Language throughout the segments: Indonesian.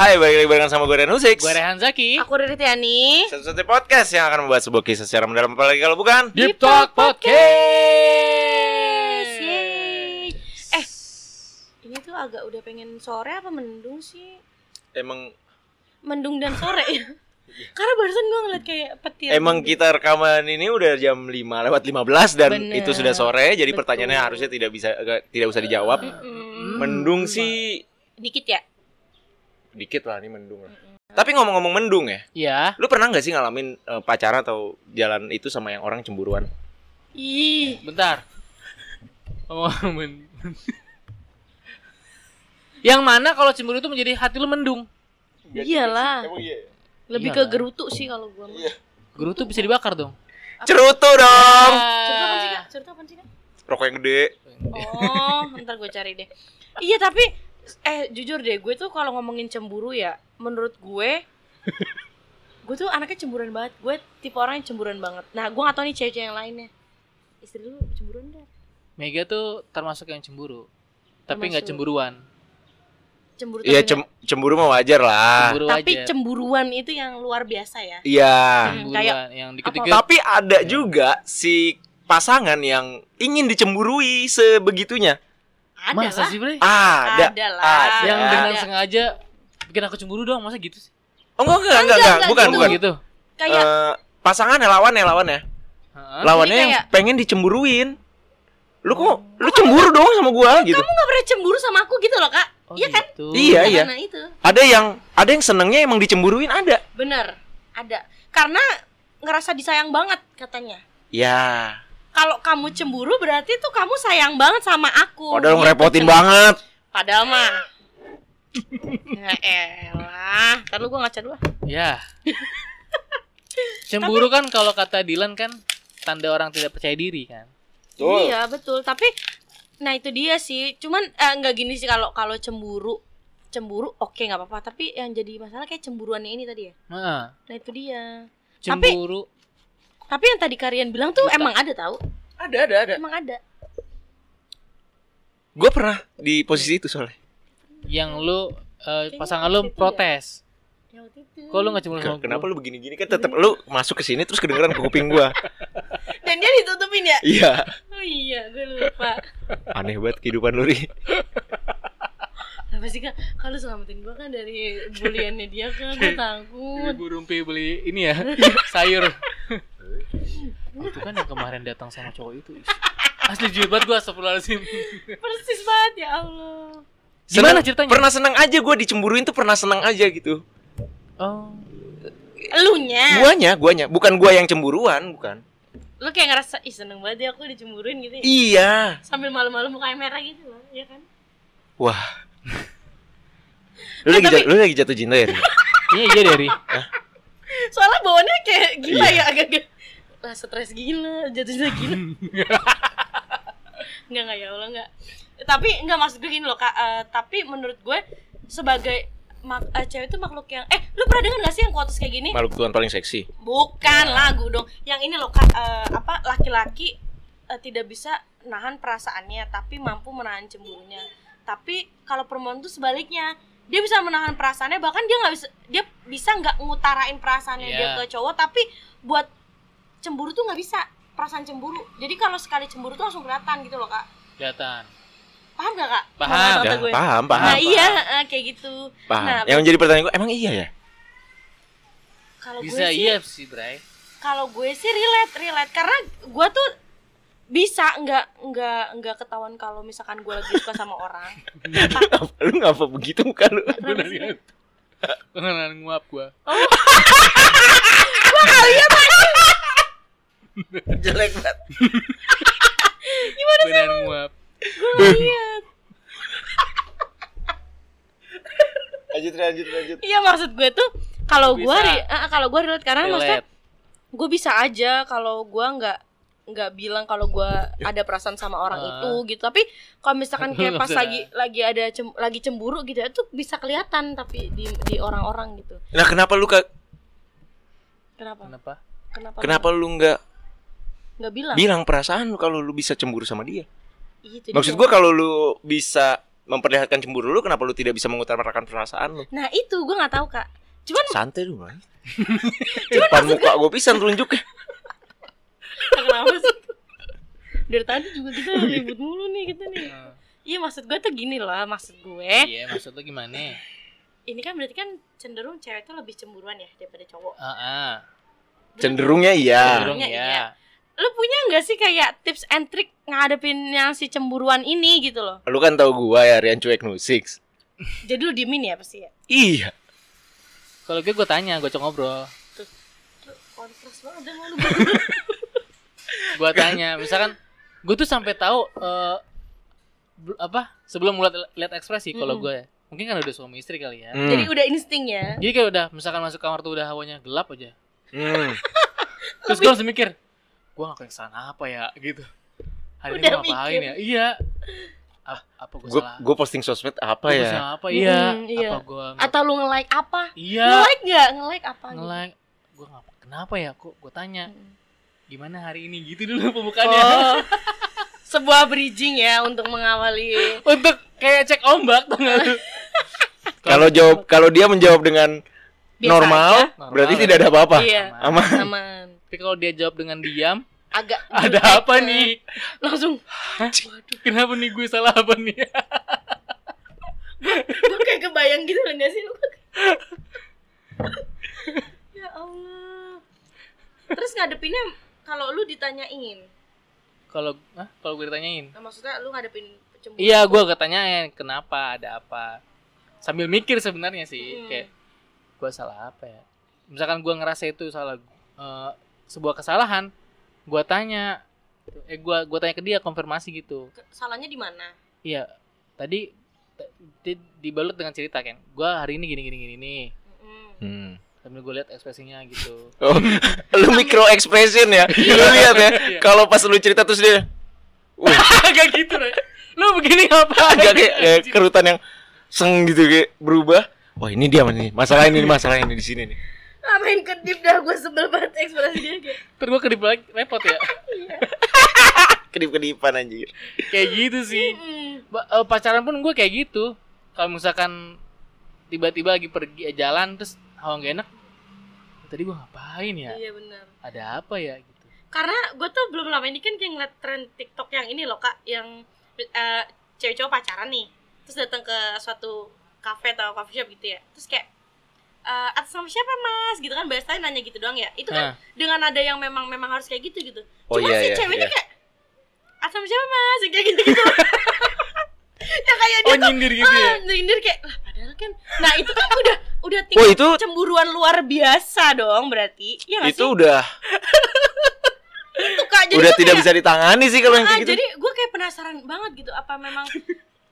Hai, balik lagi barengan sama gue Ren Husix Gue Rehan Zaki Aku Riri Tiani. Satu-satunya podcast yang akan membahas sebuah kisah secara mendalam Apalagi kalau bukan Deep Talk Podcast Yeay. Eh, ini tuh agak udah pengen sore apa mendung sih? Emang Mendung dan sore ya. Karena barusan gue ngeliat kayak petir. emang mendung. kita rekaman ini udah jam 5 lewat 15 Dan Bener. itu sudah sore Jadi Betul. pertanyaannya harusnya tidak bisa agak- tidak usah dijawab Mm-mm. Mendung sih Hmm. dikit ya. dikit lah ini mendung lah Tapi ngomong-ngomong mendung ya Ya Lu pernah nggak sih ngalamin eh, pacaran atau jalan itu sama yang orang cemburuan? Ih, Bentar Oh, men- Yang mana kalau cemburu itu menjadi hati lu mendung Iya, iyalah. Lebih ke Iyalah. gerutu sih kalau gue. Cerita Guru tuh bisa dibakar dong Cerutu dong apa sih kak? Cerita apa sih kak? Rokok yang gede Oh, ntar gue cari deh. Iya tapi eh jujur deh gue tuh kalau ngomongin cemburu ya, menurut gue gue tuh anaknya cemburuan banget. Gue tipe orang yang cemburuan banget. Nah, gue gak tau nih cewek-cewek yang lainnya. Istri lu cemburuan deh. Mega tuh termasuk yang cemburu Tapi nggak Termasuk. cemburuan Cemburu Iya tapi cem- cemburu mah wajar lah Cemburu nggak- Ah. tapi wajar cemburuan itu yang luar biasa ya. Iya Hmm, Cemburuan kayak Yang Iya. dikit-dikit Tapi ada juga si pasangan yang ingin dicemburui sebegitunya. Ada Masa lah. sih bre? Ada. Ada lah. ada. Yang Ada. dengan sengaja Bikin aku cemburu dong Masa gitu sih? Oh, enggak, enggak, enggak, enggak, enggak, bukan, gitu. bukan. gitu kayak Eh, pasangan ya lawan ya lawan ya. Iya Hah? Lawannya Jadi yang kayak- pengen dicemburuin. Lu kok lu cemburu dong sama gua gitu. kamu gak pernah cemburu sama aku gitu loh, Kak. Oh, iya kan? gitu. Iya, iya. Karena itu. Ada yang ada yang senengnya emang dicemburuin ada. Bener, ada. Karena ngerasa disayang banget katanya. Ya, kalau kamu cemburu berarti tuh kamu sayang banget sama aku. padahal Iya, ngerepotin cemburu. banget. Padahal mah. ya elah, ntar lu gua ngaca dulu. ah. Ya. Cemburu kan kalau kata Dilan kan tanda orang tidak percaya diri kan. Betul. Iya, betul. Tapi nah itu dia sih. Cuman eh, nggak gini sih kalau kalau cemburu cemburu oke nggak apa-apa tapi yang jadi masalah kayak cemburuannya ini tadi ya Heeh. nah itu dia Tapi- Cemburu. tapi yang tadi kalian bilang tuh emang ada tahu Ada, ada, ada. emang ada Gua pernah di posisi itu soalnya. yang lu eh, pasangan lu protes. ya waktu itu Kok lu gak cemburu sama Ke- gua? Kenapa lu begini-gini kan tetap lu masuk ke sini terus kedengeran ke kuping gua. dan dia ditutupin ya Iya. oh iya gue lupa Aneh banget kehidupan lu, Ri. kenapa sih kak kalau selamatin gue kan dari buliannya dia kan gue takut Ibu Rumpi beli ini ya sayur. itu kan yang kemarin datang sama cowok itu. Is. Asli jujur banget gue astagfirullahaladzim persis banget ya Allah Gimana Seneng- ceritanya? Pernah seneng aja gue dicemburuin tuh pernah seneng aja gitu. Oh, elunya Guanya, guanya, bukan gua yang cemburuan, bukan. lu kayak ngerasa ih seneng banget ya aku dicemburuin gitu ya. Iya. sambil malu-malu mukanya merah gitu loh ya kan Wah. lu, lagi Nah, tapi- jat- lu lagi jatuh cinta ya? Ri? iya iya dari. soalnya bawaannya kayak gila ya agak-agak lah stres gila jatuh cinta gila Enggak enggak ya Allah enggak. Tapi enggak maksud gue gini loh Kak, eh, tapi menurut gue sebagai mak- eh, cewek itu makhluk yang eh lu pernah dengar gak sih yang quotes kayak gini? Makhluk Tuhan paling seksi. Bukan Ya. lagu dong. Yang ini loh Kak, eh, apa laki-laki eh, tidak bisa nahan perasaannya tapi mampu menahan cemburunya. Tapi kalau perempuan tuh sebaliknya. Dia bisa menahan perasaannya bahkan dia nggak bisa dia bisa nggak ngutarain perasaannya Iya. dia ke cowok tapi buat cemburu tuh nggak bisa perasaan cemburu. Jadi kalau sekali cemburu tuh langsung kelihatan gitu loh Kak. Kelihatan. Paham gak kak? Paham. Kata-kata Ya, gue. paham, Nah paham, iya eh, kayak gitu paham. Nah, yang jadi pertanyaan gue, emang iya ya? Kalau gue Bisa sih iya sih, Bray. Kalau gue sih relate relate Karena gue tuh bisa nggak nggak nggak ketahuan kalau misalkan gue lagi suka sama orang lu ngapa begitu muka lu? Kenapa sih? Beneran. ya? Beneran nguap gue. Jelek banget. Beneran nguap. Gue lihat Lanjut, lanjut, lanjut. iya maksud gue tuh kalau Bisa. gue re- eh, kalau gue relate karena maksudnya Relate. gue bisa aja kalau gue nggak nggak bilang kalau gue ada perasaan sama orang Ah. itu gitu tapi kalau misalkan kayak pas Maksudnya. lagi lagi ada cem- lagi cemburu gitu ya tuh bisa kelihatan tapi di di orang-orang gitu Nah, kenapa lu ka- kenapa Kenapa? kenapa kenapa lu nggak nggak bilang Iya, bilang perasaan lu kalau lu bisa cemburu sama dia? Itu Maksud dia. gue kalau lu bisa memperlihatkan cemburu lu kenapa lu tidak bisa mengutarakan perasaan lu Nah itu gue nggak tahu kak. Cuman santai lu man depan muka gue pisan telunjuknya kenapa sih? Dari tadi juga kita ribut mulu nih kita nih. Nah. Iya maksud gue tuh gini loh maksud Eh. gue. Iya, maksud lu gimana? Ini kan berarti kan cenderung cewek tuh lebih cemburuan ya daripada cowok. Heeh. cenderungnya iya Cenderung Iya, iya. ya. Lu punya nggak sih kayak tips and trick ngadepin yang si cemburuan ini gitu loh? lu kan tahu gua ya Rian cuek nusix Jadi lu diemin ya pasti ya. iya Kalau gue gue tanya, gue coba ngobrol. Lu Kontras banget sama lu. Gue tanya, misalkan gue tuh sampai tahu eh, bel- apa sebelum mulai lihat ekspresi kalau gue Mm-mm. mungkin kan udah suami istri kali ya. Jadi hmm. udah insting ya. Jadi kayak udah misalkan masuk kamar tuh udah hawanya gelap aja. Hmm. Terus gue langsung mikir, gue ngelakuin kesalahan apa ya gitu. Hari ini Udah gue ngapain mikir. ya? Iya. Ap- apa gue Gua, salah? gua posting sosmed apa Gua ya? salah apa? Iya. Mm, iya. Apa gue Atau lu nge-like apa? Iya. Nge-like nggak? Nge-like apa? gitu? Nge-like. Gue ngapa? Kenapa ya? Kok gue tanya Mm. gimana hari ini gitu dulu pembukaannya. Oh. Sebuah bridging ya untuk mengawali Untuk kayak cek ombak tau nggak lu? Kalau jawab kalau dia menjawab dengan Biasa normal, aja. Normal. berarti tidak ada apa-apa. Iya. Aman. aman Tapi kalau dia jawab dengan diam, agak ada dikit, apa eh, nih? langsung Kenapa nih gue salah apa nih? gue kayak kebayang gitu loh nggak sih lu ya allah terus ngadepinnya kalau lu ditanyain Kalau ah, kalau gue ditanyain. nah, maksudnya lu ngadepin cemburu Iya, gue ketanyain kenapa, ada apa. Sambil mikir sebenarnya sih, Hmm. kayak gue salah apa ya? Misalkan gue ngerasa itu salah eh, sebuah kesalahan, gue tanya eh gue gua tanya ke dia konfirmasi gitu. Ke- salahnya di mana Iya, tadi t- di- dibalut dengan cerita kan. Gue hari ini gini gini gini nih. Mm-mm. Hmm. Sambil gue lihat ekspresinya gitu. Oh, lu micro expression ya. Lu lihat ya. Iya. Kalau pas lu cerita terus dia Agak gitu, Re. Lu begini ngapain? agak kayak, kayak kerutan yang seng gitu kayak berubah. Wah, ini dia nih. Masalah ini masalah ini di sini nih. ah main kedip dah gue sebel banget ekspresi dia kayak Terus gue kedip lagi, repot ya. Kedip-kedipan anjir. kayak gitu sih. mm. Ba- eh, pacaran pun gue kayak gitu. Kalau misalkan tiba-tiba lagi pergi eh, jalan terus hawa gak enak. Tadi gue ngapain ya? iya benar Ada apa ya gitu. karena gue tuh belum lama ini kan kayak ngeliat tren TikTok yang ini loh kak yang eh, cewek cowok pacaran nih terus datang ke suatu cafe atau coffee shop gitu ya terus kayak eh atas nama siapa mas gitu kan biasanya nanya gitu doang ya itu Hah. kan dengan ada yang memang memang harus kayak gitu gitu Oh, cuma iya, si iya, ceweknya iya. kayak atas nama siapa mas Yang kayak gitu gitu ya kayak dia Oh nyindir gitu ya. ah, nyindir kayak lah padahal kan nah itu kan udah udah Wah, tingkat Oh, itu- cemburuan luar biasa dong berarti ya nggak Itu sih? udah Itu, Kak. Jadi udah tuh tidak kayak- bisa ditangani sih kalau yang Ah, kayak gitu. jadi gue kayak penasaran banget gitu apa memang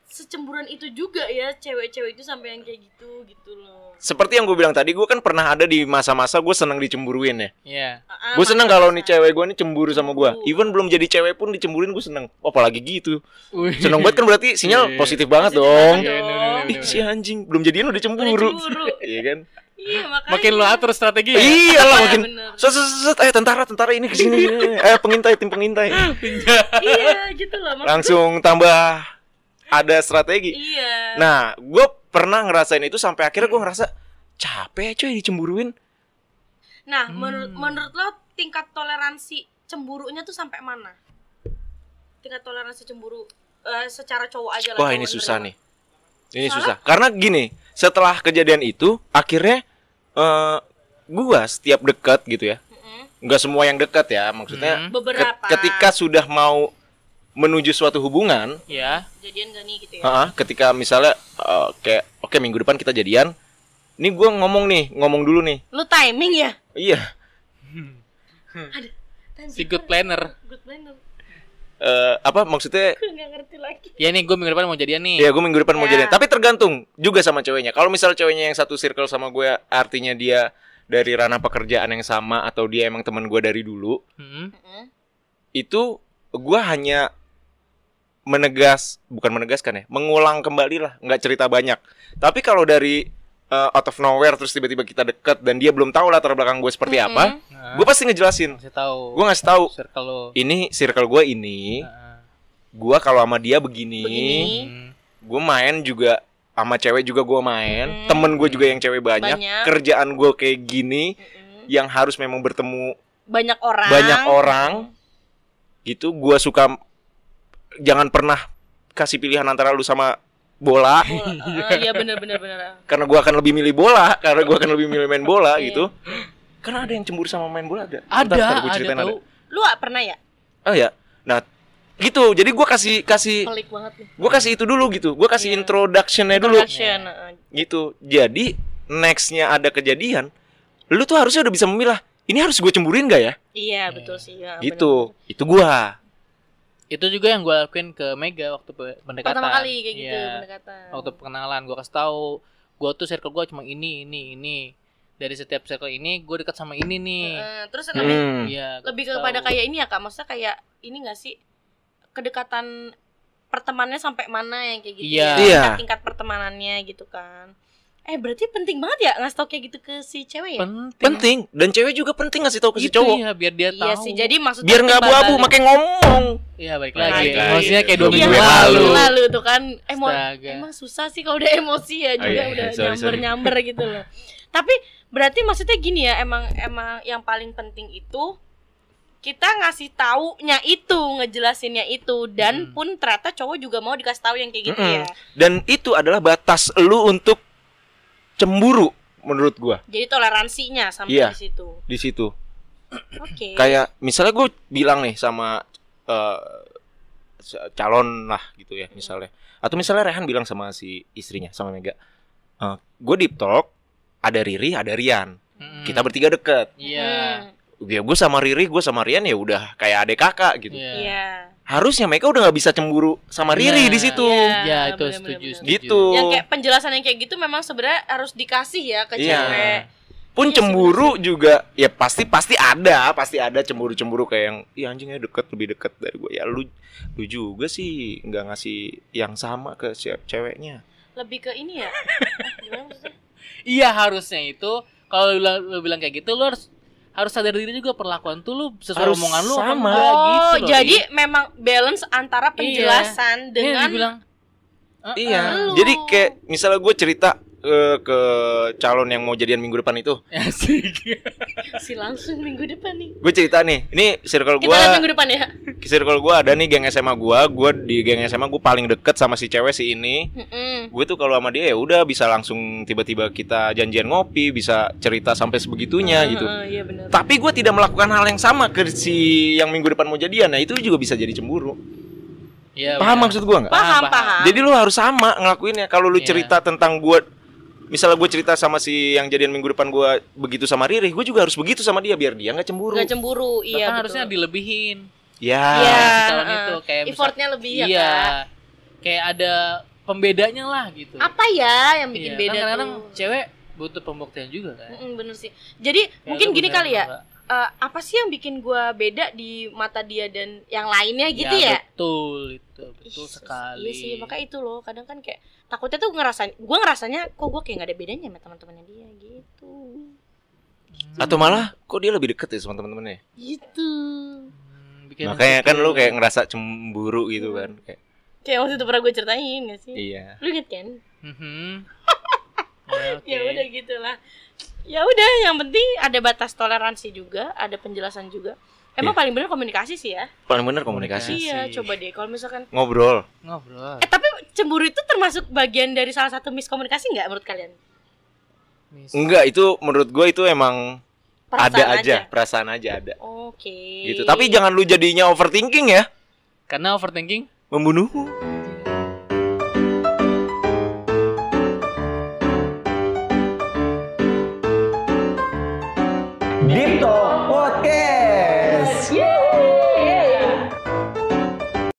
secemburuan itu juga ya cewek-cewek itu sampai yang kayak gitu gitu loh. Seperti yang gue bilang tadi, gue kan pernah ada di masa-masa gue seneng dicemburuin ya. Iya. Ah, ah, Gue seneng kalau nih makanya. cewek gue nih cemburu sama gue. Cemburu. Even belum jadi cewek pun dicemburin gue seneng. Oh, apalagi gitu. Wih. Seneng banget kan berarti sinyal Iya. positif banget Positif dong. banget Iya, dong. bener, bener, Ih, si anjing belum jadian udah cemburu. Udah cemburu. Iya kan? Iya, makanya. Makin lo atur strategi ya. Iya lah Iya, makin. bener. Set, set, set, set, eh tentara tentara ini kesini. eh pengintai tim pengintai. Iya, gitu loh. maksud Langsung tambah ada gua- strategi. Iya. Nah, gue pernah ngerasain itu sampai akhirnya gue ngerasa capek coy dicemburuin. Nah, menurut Hmm. menurut lo tingkat toleransi cemburunya tuh sampai mana? Tingkat toleransi cemburu eh, secara cowok aja lah. Wah cowok ini susah nih. nerima. Ini Soalnya- susah. Karena gini, setelah kejadian itu akhirnya eh gue setiap dekat gitu ya. Mm-mm. Nggak semua yang dekat ya maksudnya. Hmm. ke- Beberapa. ketika sudah mau menuju suatu hubungan, Iya. jadian gak nih gitu ya. Heeh, ketika misalnya eh, kayak oke minggu depan kita jadian. Ini gue ngomong nih, ngomong dulu nih. Lo timing ya? Iya. Ada. Timing. Si good planner. Good planner. eh, apa maksudnya? Gue gak ngerti lagi. Ya nih gue minggu depan mau jadian nih. Ya gue minggu depan mau Ya. jadian. Tapi tergantung juga sama ceweknya. Kalau misalnya ceweknya yang satu circle sama gue, artinya dia dari ranah pekerjaan yang sama atau dia emang teman gue dari dulu, Hmm. Mm-mm. itu gue hanya menegas, bukan menegaskan ya, mengulang kembali lah, nggak cerita banyak. Tapi kalau dari eh, out of nowhere terus tiba-tiba kita deket dan dia belum tahu latar belakang gue seperti apa, Mm-mm. Nah, gue pasti ngejelasin masih tahu. gue ngasih tahu circle lo. ini circle gue ini Nah, gue kalau sama dia begini, Begini. hmm. gue main juga sama cewek juga gue main Hmm. temen gue juga yang cewek banyak, Banyak. kerjaan gue kayak gini Mm-mm. yang harus memang bertemu banyak orang banyak orang gitu gue suka jangan pernah kasih pilihan antara lu sama bola Eh, iya bener bener bener karena gue akan lebih milih bola karena gue akan lebih milih main bola gitu karena ada yang cemburu sama main bola ada Ada, Ntar- ntar gua ada ceritain tahu. lu gak pernah ya oh ya nah gitu jadi gue kasih kasih pelik banget nih gue kasih itu dulu gitu gue kasih Iya. introductionnya dulu Production, eh, gitu jadi nextnya ada kejadian lu tuh harusnya udah bisa memilah ini harus gue cemburuin gak ya Hmm. iya betul sih ya, gitu itu gua Itu juga yang gue lakuin ke Mega waktu pe- bener. pendekatan. pertama kali kayak gitu Iya. pendekatan Waktu perkenalan gue kasih tahu, gue tuh circle gue cuma ini, ini, ini. Dari setiap circle ini gue dekat sama ini nih. Eh, terus lebih, Hmm. Iya. gua lebih kasih kepada tahu. kayak ini ya kak maksudnya kayak ini gak sih kedekatan pertemanannya sampai mana yang kayak gitu Iya. ya, Iya. tingkat, tingkat pertemanannya gitu kan eh berarti penting banget ya ngasih tau kayak gitu ke si cewek ya penting. penting dan cewek juga penting ngasih tahu ke si Itu cowok ya, biar dia iya tahu. sih jadi maksudnya biar nggak abu-abu balik- makai ngomong Iya balik Balik lagi. lagi. Emosinya kayak dua Dua Iya, minggu minggu lalu. lalu. lalu tuh kan emo Astaga. emang susah sih kalau udah emosi ya Oh, juga iya, udah sorry, nyamber nyamber gitu loh tapi berarti maksudnya gini ya emang emang yang paling penting itu kita ngasih taunya itu ngejelasinnya itu Mm. dan pun ternyata cowok juga mau dikasih tahu yang kayak gitu Mm-mm. ya dan itu adalah batas lu untuk cemburu menurut gua jadi toleransinya sampai Iya. di situ di situ oke kayak misalnya gue bilang nih sama eh, se- calon lah gitu ya misalnya atau misalnya Rehan bilang sama si istrinya sama Mega eh gue deep talk ada Riri ada Rian Mm-mm. kita bertiga deket Iya. Hmm, ya gue sama Riri gue sama Rian ya udah kayak adik kakak gitu Iya. iya harusnya mereka udah nggak bisa cemburu sama Riri Iya. di situ Iya, Iya, itu bener-bener, setuju, bener. setuju. gitu yang kayak penjelasan yang kayak gitu memang sebenarnya harus dikasih ya ke Iya. cewek pun Iya, cemburu juga ya pasti pasti ada pasti ada cemburu cemburu kayak yang iya anjingnya deket lebih deket dari gue ya lu lu juga sih nggak ngasih yang sama ke si ceweknya lebih ke ini ya gimana maksudnya? Iya harusnya itu kalau lu, bilang- lu bilang kayak gitu lu harus harus sadar diri juga perlakuan tuh lu sesuai Harus omongan lu apa sama. enggak Oh, gitu loh, jadi Ri. memang balance antara penjelasan Ini dengan dibilang "Eh, eh." iya lu. jadi kayak misalnya gue cerita eh, ke calon yang mau jadian minggu depan itu Ya, Asik. si langsung minggu depan nih. gue cerita nih ini circle Kita lihat gue minggu depan ya. circle gue ada nih geng SMA gue gue di geng SMA gue paling deket sama si cewek si ini Mm-mm. gue tuh kalau sama dia ya udah bisa langsung tiba-tiba kita janjian ngopi bisa cerita sampai sebegitunya gitu Heeh, Iya benar. tapi gue tidak melakukan hal yang sama ke si yang minggu depan mau jadian nah itu juga bisa jadi cemburu Iya, paham benar. maksud gue nggak Paham, Paham, paham. paham. jadi lu harus sama ngelakuinnya kalau lu Iya. cerita tentang gue misalnya gue cerita sama si yang jadian minggu depan gue begitu sama Riri gue juga harus begitu sama dia biar dia nggak cemburu Nggak cemburu, Bahkan iya. betul. harusnya dilebihin. ya Iya, si calon heeh. itu kayak misal- Effortnya lebih ya. iya. Kak. Kayak ada pembedanya lah gitu. Apa ya yang bikin Iya, beda kan kadang tuh? cewek butuh pembuktian juga kan. Mm-mm, bener sih. Jadi Kayak mungkin lu gini bener kali ya. apa enggak. eh, apa sih yang bikin gua beda di mata dia dan yang lainnya gitu ya? Betul itu, Iya, betul Ih, sekali. Iya sih, makanya itu loh. Kadang kan kayak takutnya tuh ngerasain, gue ngerasanya kok gue kayak nggak ada bedanya sama teman-temannya dia gitu. Hmm. atau malah kok dia lebih deket ya sama teman-temannya Gitu. Hmm, bikin makanya kan gitu. lu kayak ngerasa cemburu gitu kan kayak Kayak waktu itu pernah gue ceritain gak sih? iya Lu inget kan? Mhm. Ya, oke. Ya udah gitulah. Ya udah, yang penting ada batas toleransi juga, ada penjelasan juga. Emang paling benar komunikasi sih ya. paling bener Iya. komunikasi Komunikasi. Iya, coba deh. Kalau misalkan ngobrol Ngobrol. eh tapi cemburu itu termasuk bagian dari salah satu miskomunikasi nggak menurut kalian? Mis- enggak itu menurut gue itu emang ada Perasaan aja perasaan aja ada Oke. gitu tapi jangan lu jadinya overthinking ya Karena overthinking membunuhmu Deep Talk.